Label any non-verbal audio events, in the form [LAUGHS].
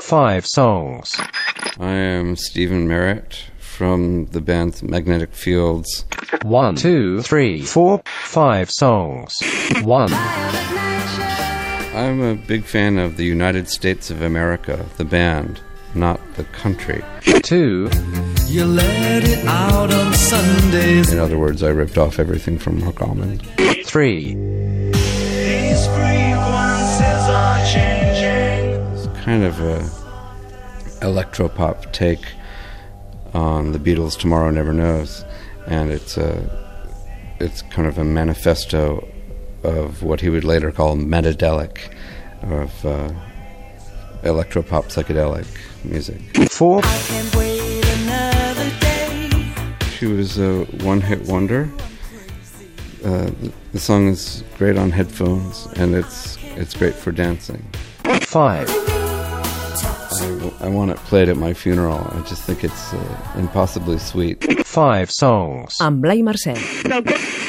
Five [LAUGHS] songs. I am Stephen Merritt from the band Magnetic Fields. One, two, three, four, five songs. One. I'm a big fan of the United States of America, the band, not the country. two, You let it out on Sundays. In other words, I ripped off everything from Mark Almond. three, These frequencies are changing. It's kind of a electropop take on the Beatles' "Tomorrow Never Knows," and it's a it's kind of a manifesto of what he would later call metadelic, of uh, electropop psychedelic music. four, Can't wait another day. She was a one-hit wonder. Uh, th- the song is great on headphones, and it's it's great for dancing. five, I, w- I want it played at my funeral. I just think it's uh, impossibly sweet. five songs. amb Blai Mercè.